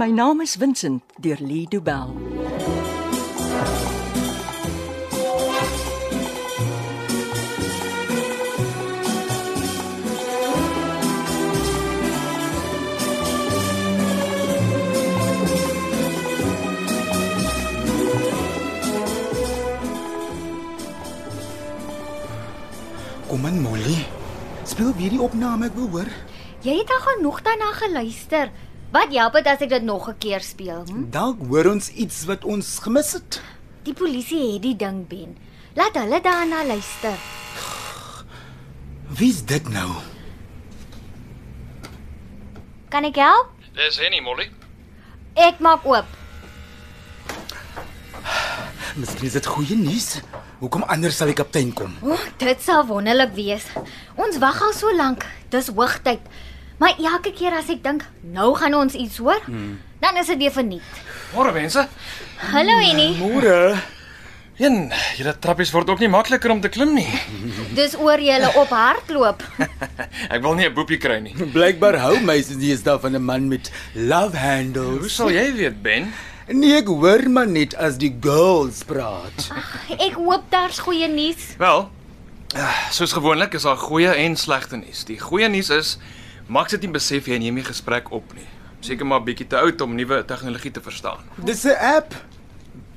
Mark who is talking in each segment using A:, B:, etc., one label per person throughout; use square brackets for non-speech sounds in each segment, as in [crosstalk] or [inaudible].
A: My naam is Vincent deur Lee Du Bell.
B: Kom in, Molly. Speel weer die opname, ek wil hoor.
C: Jy het al genoeg daarna geluister. Wat help dit as ek dit nog 'n keer speel? Hm?
B: Dalk hoor ons iets wat ons gemis het.
C: Die polisie het die ding ben. Laat hulle daarna luister.
B: Wie's dit nou?
C: Kan ek help?
D: Dis Henny Molly.
C: Ek maak oop.
B: Miskien is dit goeie nuus. Hoekom anders sal die kaptein [laughs] kom?
C: O, oh, dit sal wonderlik wees. Ons wag al so lank. Dis hoogtyd. Maar elke keer as ek dink nou gaan ons iets hoor, hmm. dan is dit weer verniet.
D: Môre mense.
C: Hallo Annie.
B: Môre.
D: Een, julle trappies word ook nie makliker om te klim nie.
C: Dis oor julle op hardloop.
D: [laughs] Ek wil nie 'n boepie kry nie.
B: Blykbaar hou meisies nie eens daarvan 'n man met love
D: Hoe
B: handles.
D: sal jy weet, Ben?
B: Nee, ek hoor maar net as die girls [laughs] praat.
C: Ek hoop daar's goeie nuus.
D: Wel, eh, soos gewoonlik is daar goeie en slegte nuus. Die goeie nuus is Max het nie besef jy neem die gesprek op nie. Seker maar bietjie te oud om nuwe tegnologie te verstaan.
B: Dis 'n app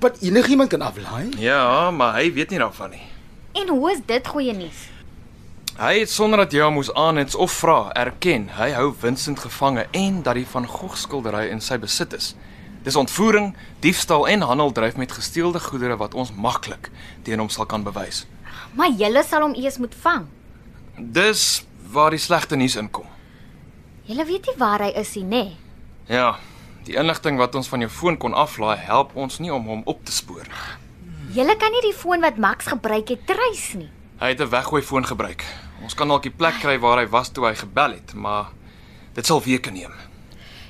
B: wat enigiemand kan aflaai.
D: Ja, maar hy weet nie daarvan nie.
C: En hoe is dit goeie nuus?
D: Hy het sonder dat jy hom moes aanhits of vra, erken hy hou Vincent gevange en dat die van Gogh skildery in sy besit is. Dis ontvoering, diefstal en handeldryf met gesteelde goedere wat ons maklik teen hom sal kan bewys.
C: Maar julle sal hom eers moet vang.
D: Dis waar die slegte nuus inkom.
C: Julle weet nie waar hy is nie, nê?
D: Ja, die inligting wat ons van jou foon kon aflaai, help ons nie om hom op te spoor.
C: Julle kan nie die foon wat Max gebruik het treis nie.
D: Hy het 'n weggooi foon gebruik. Ons kan dalk die plek kry waar hy was toe hy gebel het, maar dit sal weke neem.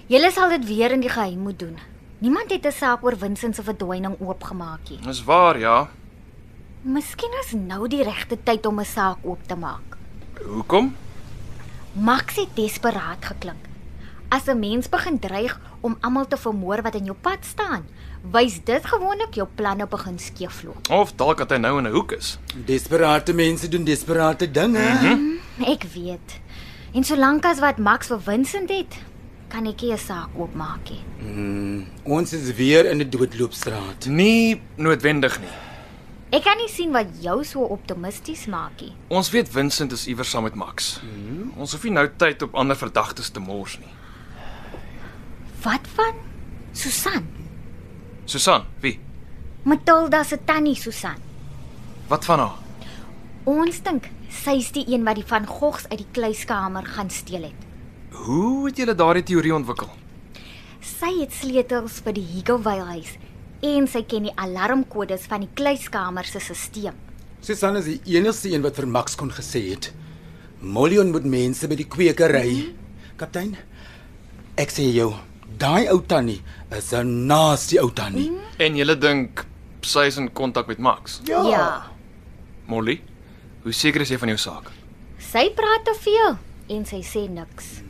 C: Julle sal dit weer in die geheim moet doen. Niemand het 'n saak oor Vincent se verdwyning oopgemaak nie.
D: Dis waar, ja.
C: Miskien is nou die regte tyd om 'n saak oop te maak.
D: Hoekom?
C: Max het desperaat geklink. As 'n mens begin dreig om almal te vermoor wat in jou pad staan, wys dit gewoonlik jou planne begin skeefloop.
D: Of dalk dat hy nou in 'n hoek is.
B: Desperate mense doen desperate dinge.
C: Ek weet. En solank as wat Max vir Vincent het, kan ek nie 'n saak oopmaak nie.
B: Ons is weer in 'n doodloopstraat.
D: Nie noodwendig nie.
C: Ek kan nie sien wat jou so optimisties maak nie.
D: Ons weet Vincent is iewers saam met Max. Ons hoef nie nou tyd op ander verdagtes te mors nie.
C: Wat van Susan?
D: Susan, wie?
C: Matilda se tannie Susan.
D: Wat van haar?
C: Ons dink sy is die een wat die van Gogs uit die kluiskamer gaan steel het.
D: Hoe het julle daardie teorie ontwikkel?
C: Sy het sleutels vir die Higgovale huis en sy ken die alarmkodes van die kluiskamer se stelsel.
B: Susan is die enigste een wat vir Max kon gesê het. Molly ontmoet mense by die kwekery. Kaptein, ek sê jou, daai ou tannie is 'n nasty ou tannie.
D: En julle dink sy is in kontak met Max?
C: Ja.
B: Ja.
D: Molly, hoe seker is jy van jou saak?
C: Sy praat te veel en sy sê niks.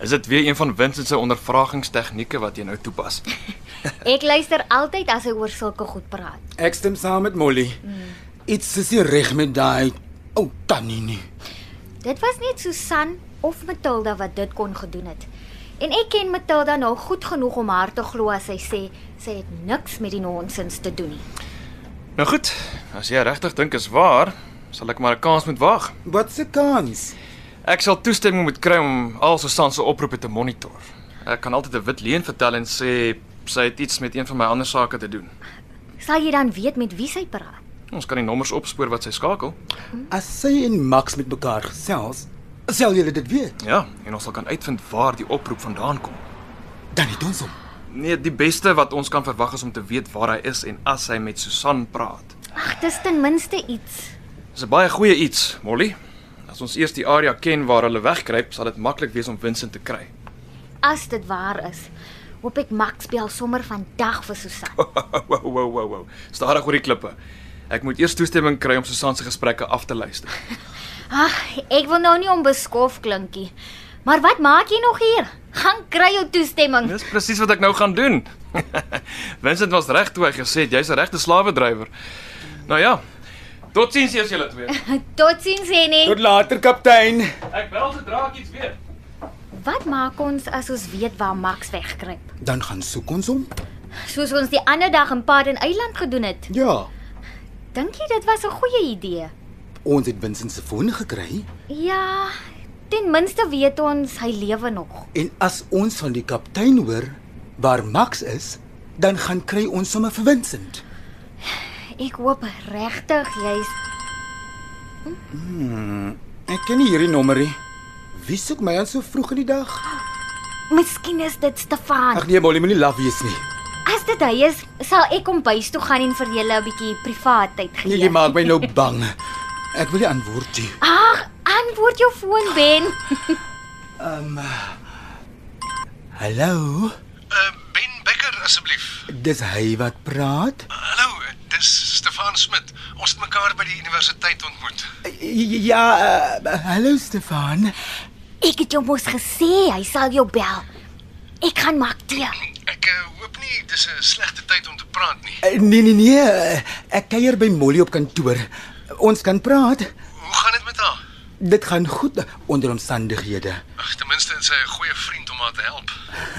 D: Is dit weer een van Vincent se ondervragingstegnieke wat jy nou toepas?
C: Ek luister altyd as hy oor sulke goed praat.
B: Ek stem saam met Molly. Iets is nie reg met daai ou tannie nie.
C: Dit was net Susan of Matilda wat dit kon gedoen het. En ek ken Matilda nou goed genoeg om haar te glo as sy sê sy het niks met die nonsens te doen nie.
D: Nou goed, as jy regtig dink is waar, sal ek maar 'n kans moet waag.
B: Wat se kans?
D: Ek sal toestemming moet kry om al Susan se oproepe te monitor. Ek kan altyd 'n wit leuen vertel en sê sy het iets met een van my ander sake te doen.
C: Sal jy dan weet met wie sy praat?
D: Ons kan die nommers opspoor wat sy skakel.
B: As sy en Max met mekaar gesels, sal julle dit weet.
D: Ja, en ons sal kan uitvind waar die oproep vandaan kom.
B: Dan het ons hom.
D: Nee, die beste wat ons kan verwag is om te weet waar hy is en as hy met Susan praat.
C: Ag, dis ten minste iets.
D: Dis 'n baie goeie iets, Molly. As ons eers die area ken waar hulle wegkruip, sal dit maklik wees om Vincent te kry. [laughs]
C: As dit waar is, hoop ek Max bel sommer vandag vir Susan.
D: Oh. Wow, wow, wow, wow. Stadig oor die klippe. Ek moet eers toestemming kry om Susan se gesprekke af te luister.
C: Ag, ek wil nou nie onbeskof klinkie. Maar wat maak jy nog hier? Gaan kry jou toestemming.
D: Dis presies wat ek nou gaan doen. [laughs] Vincent was reg toe hy gesê het jy's 'n regte slawedrywer. Nou ja. Totsiens eers julle twee.
C: Totsiens Henny.
B: Tot later, kaptein.
D: Ek bel sodra ek iets weet.
C: Wat maak ons as ons weet waar Max wegkruip?
B: Dan gaan soek ons hom.
C: Soos ons die ander dag in Paden Eiland gedoen het.
B: Ja,
C: Dink jy dit was 'n goeie idee?
B: ons het Vincent se foon gekry
C: Ja, ten minste weet ons hy lewe nog.
B: en as ons van die kaptein hoor waar Max is, dan gaan kry ons sommer vir Vincent.
C: Ek hoop regtig jy's
B: Ek ken nie hierdie nommerie. Wie soek my aan so vroeg in die dag?
C: Miskien is dit Stefan.
B: Ag nee, Molly, moenie laf wees nie.
C: As dit hy is, sal ek hom bys toe gaan en vir julle 'n bietjie privaat tyd gee.
B: Nee, jy maak my nou bang. Ek wil nie antwoord nie.
C: Ag, antwoord jou foon Ben.
B: Ehm um, Hallo.
E: Uh, ben Becker asseblief.
B: Dis hy wat praat.
E: Hallo, dis Stefan Smit. Ons het mekaar by die universiteit ontmoet.
B: Ja, uh, hallo Stefan.
C: Ek het jou mos gesê hy sal jou bel. Ek gaan maak tee.
E: Ek uh, hoop nie dis 'n slegte tyd om te praat nie.
B: Eh, Nee nee nee, eh, ek kuier by Molly op kantoor. Ons kan praat.
E: Hoe gaan dit met haar?
B: Dit gaan goed onder omstandighede.
E: Ag, ten minste is sy 'n goeie vriend om haar te help.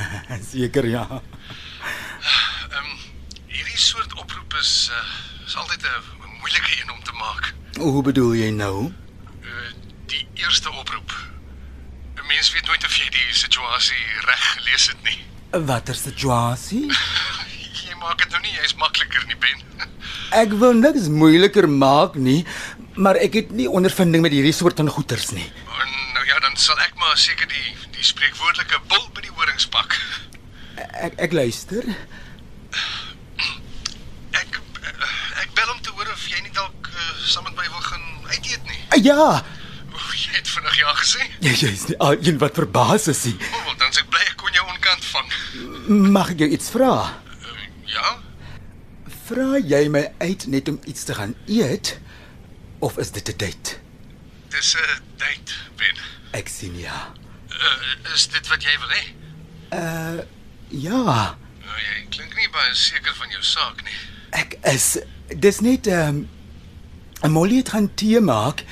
B: [laughs] Seker ja.
E: Ehm um, hierdie soort oproep is uh, is altyd 'n moeilike een om te maak.
B: Hoe bedoel jy nou?
E: Uh, die eerste oproep. 'n Mens weet nooit of jy die situasie reg gelees het nie. [laughs]
B: Watter situasie?
E: Jy maak dit nou nie, jy's makliker nie, Ben. [laughs]
B: Ek wil niks moeiliker maak nie, maar ek het nie ondervinding met hierdie soort van goeters nie.
E: En nou ja, dan sal ek maar seker die die spreekwoordelike bil by die horings pak. [laughs]
B: Ek ek luister.
E: Ek eh, ek bel om te hoor of jy nie dalk uh, saam met my wil gaan uit eet nie. [laughs]
B: Eh, Ja,
E: O, jy het vinnig ja gesê.
B: jy jy's nie al een wat verbaas is nie.
E: O, wel, dan sê ek bly ek kon jou onkant vang.
B: Mag ek jou iets vra?
E: Uh, ja?
B: Vra jy my uit net om iets te gaan eet of is dit 'n date?
E: Dis 'n uh, date, Ben.
B: Ek sien ja.
E: Uh, is dit wat jy wil hê?
B: Ja,
E: Nou jy klink nie baie seker van jou saak nie.
B: ek is dis net ehm um, Molly het gaan tee maak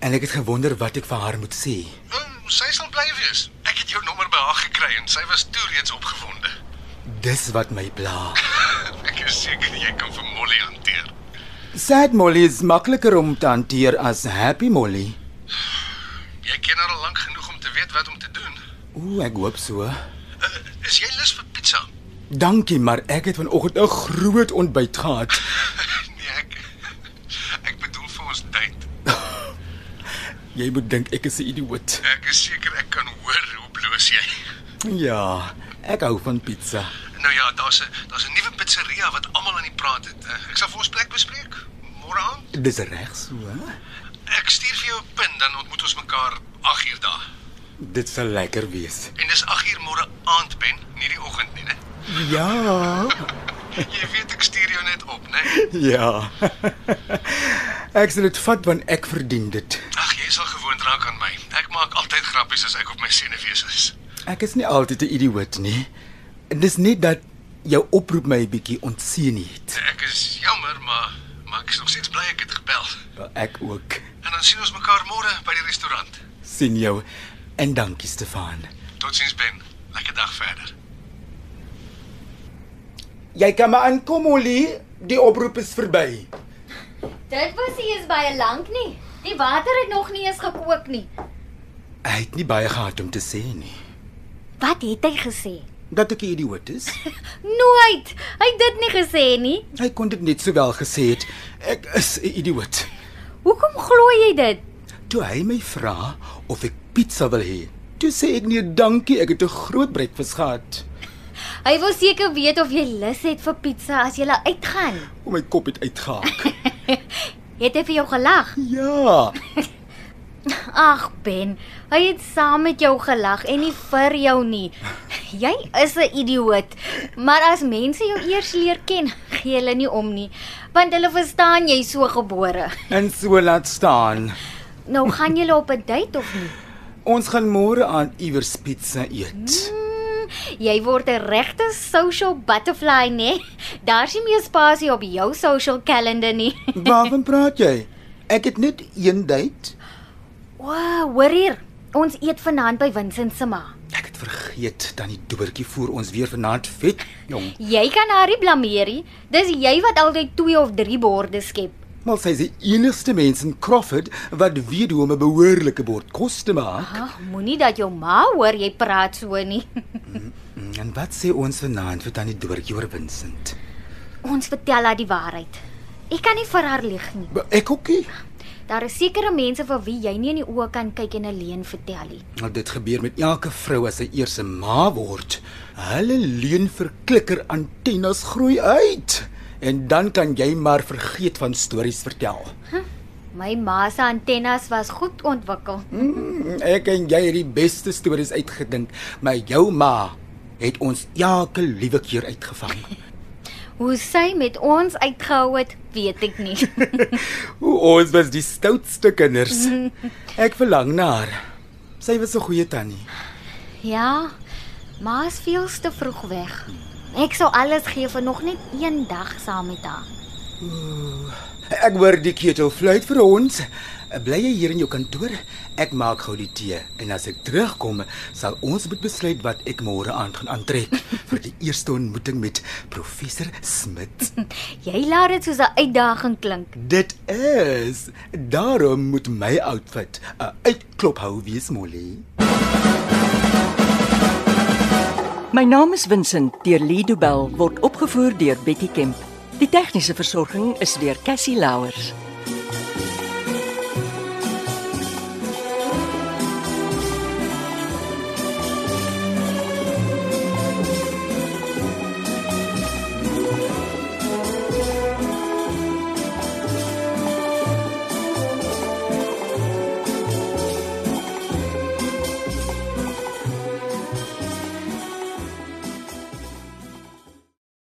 B: en ek het gewonder wat ek vir haar moet sê.
E: Um, sy sal bly wees. Ek het jou nommer by haar gekry en sy was toe reeds opgewonde. [laughs]
B: Dis wat my pla.
E: Ek is seker jy kan vir Molly hanteer.
B: Sad Molly is makliker om te hanteer as Happy Molly.
E: Jy ken haar al lank genoeg om te weet wat om te doen.
B: Ooh, ek hoop so.
E: Uh, is jy lus vir pizza?
B: Dankie, maar ek het vanoggend 'n groot ontbyt gehad.
E: [laughs] nee, ek ek bedoel vir ons date.
B: Jy moet dink ek is 'n idioot.
E: Ek is seker ek kan hoor hoe bloos jy.
B: Ja, ek hou van pizza.
E: Nou ja, daar's 'n daar's 'n nuwe pizzeria wat almal aan die praat het. Uh, ek sal vir ons plek bespreek. Môre aan.
B: Dis reg so. hè?
E: Ek stuur vir jou 'n pin dan ontmoet ons mekaar 8uur daar.
B: Dit sal lekker wees.
E: En dis 8uur môre aand ben, nie die oggend nie, né?
B: Ja. [laughs]
E: Jy weet ek stuur jou net op, né?
B: Ja. [laughs] ek sal dit vat want ek verdien dit.
E: Ag, jy sal gewoond raak aan my. Ek maak altyd grappies as ek op my senuwees is.
B: Ek is nie altyd 'n idioot nie. Dis net dat jou oproep my 'n bietjie ontseën het.
E: Ek is jammer, maar maar ek is nog steeds bly ek het gebel.
B: Ek ook
E: En dan sien ons mekaar môre by die restaurant.
B: sien jou en dankie Stefan.
E: Totsiens Ben. Lekker dag verder.
B: Jy kan maar aankom Ollie, die oproep is verby.
C: Dit was nie eens baie lank nie. Die water het nog nie eens gekook nie.
B: Hy het nie baie gehad om te sê nie
C: Wat het hy gesê?
B: dat ek 'n idioot is.
C: Nooit. Hy het dit nie gesê nie.
B: Hy kon dit net sowel gesê het. Ek is 'n idioot.
C: Hoekom glo jy dit?
B: Toe hy my vra of ek pizza wil hê, toe sê ek nee, dankie, ek het 'n groot breakfast gehad.
C: Hy wil seker weet of jy lus het vir pizza as jy uitgaan.
B: O my kop het uitgehaak.
C: Het hy vir jou gelag?
B: ja.
C: Ag Ben, hy het saam met jou gelag en nie vir jou nie. Jy is 'n idioot. Maar as mense jou eers leer ken, gee hulle nie om nie, want hulle verstaan jy is so gebore.
B: En so laat staan.
C: Nou gaan julle op 'n date of nie?
B: Ons gaan môre aan iewers pizza eet.
C: Jy word 'n regte social butterfly, né? Daar's nie meer spasie op jou social calendar nie.
B: Waarvan praat jy? Ek het net een date.
C: O, hoor hier. Ons eet vanaand by Vincent se ma.
B: Ek het vergeet dat die doortjie voer ons weer vanaand vet, jong.
C: Jy kan haar nie blameer nie. Dis jy wat altyd 2 of 3 borde skep.
B: Maar sy is die enigste mens in Crawford wat weet hoe om 'n behoorlike bord kos te maak.
C: Ag, moenie dat jou ma hoor jy praat so nie. [laughs]
B: Mm, En wat sê ons vanaand vir tannie Doortjie oor Vincent?
C: Ons vertel haar die waarheid. Ek kan nie vir haar lieg nie.
B: Be- Ek ookie.
C: Daar is sekere mense vir wie jy nie in die oë kan kyk en 'n leuen vertel nie.
B: Nou dit gebeur met elke vrou as sy eers 'n ma word. Hulle leuen verklikker antennes groei uit en dan kan jy maar vergeet van stories vertel.
C: My ma se antennes was goed ontwikkel.
B: Mm, Ek en jy het die beste stories uitgedink, maar jou ma het ons elke liewe keer uitgevang.
C: Hoe sy met ons uitgehou het, weet ek [laughs] nie.
B: O, ons was die stoutste kinders. Ek verlang na haar. Sy was 'n goeie tannie.
C: ja, ma is veel te vroeg weg. Ek sou alles gee vir nog net een dag saam met haar.
B: Ek hoor die ketel fluit vir ons. Bly jy hier in jou kantoor? Ek maak gou die tee en as ek terugkom, sal ons moet besluit wat ek môre aand gaan aantrek vir die eerste ontmoeting met professor Smit.
C: Jy laat dit soos 'n uitdaging klink.
B: Dit is daarom moet my outfit 'n uitklophou wees, Molly.
A: My naam is Vincent deur Lido Bell word opgevoer deur Betty Kemp. Die tegniese versorging is deur Cassie Louers.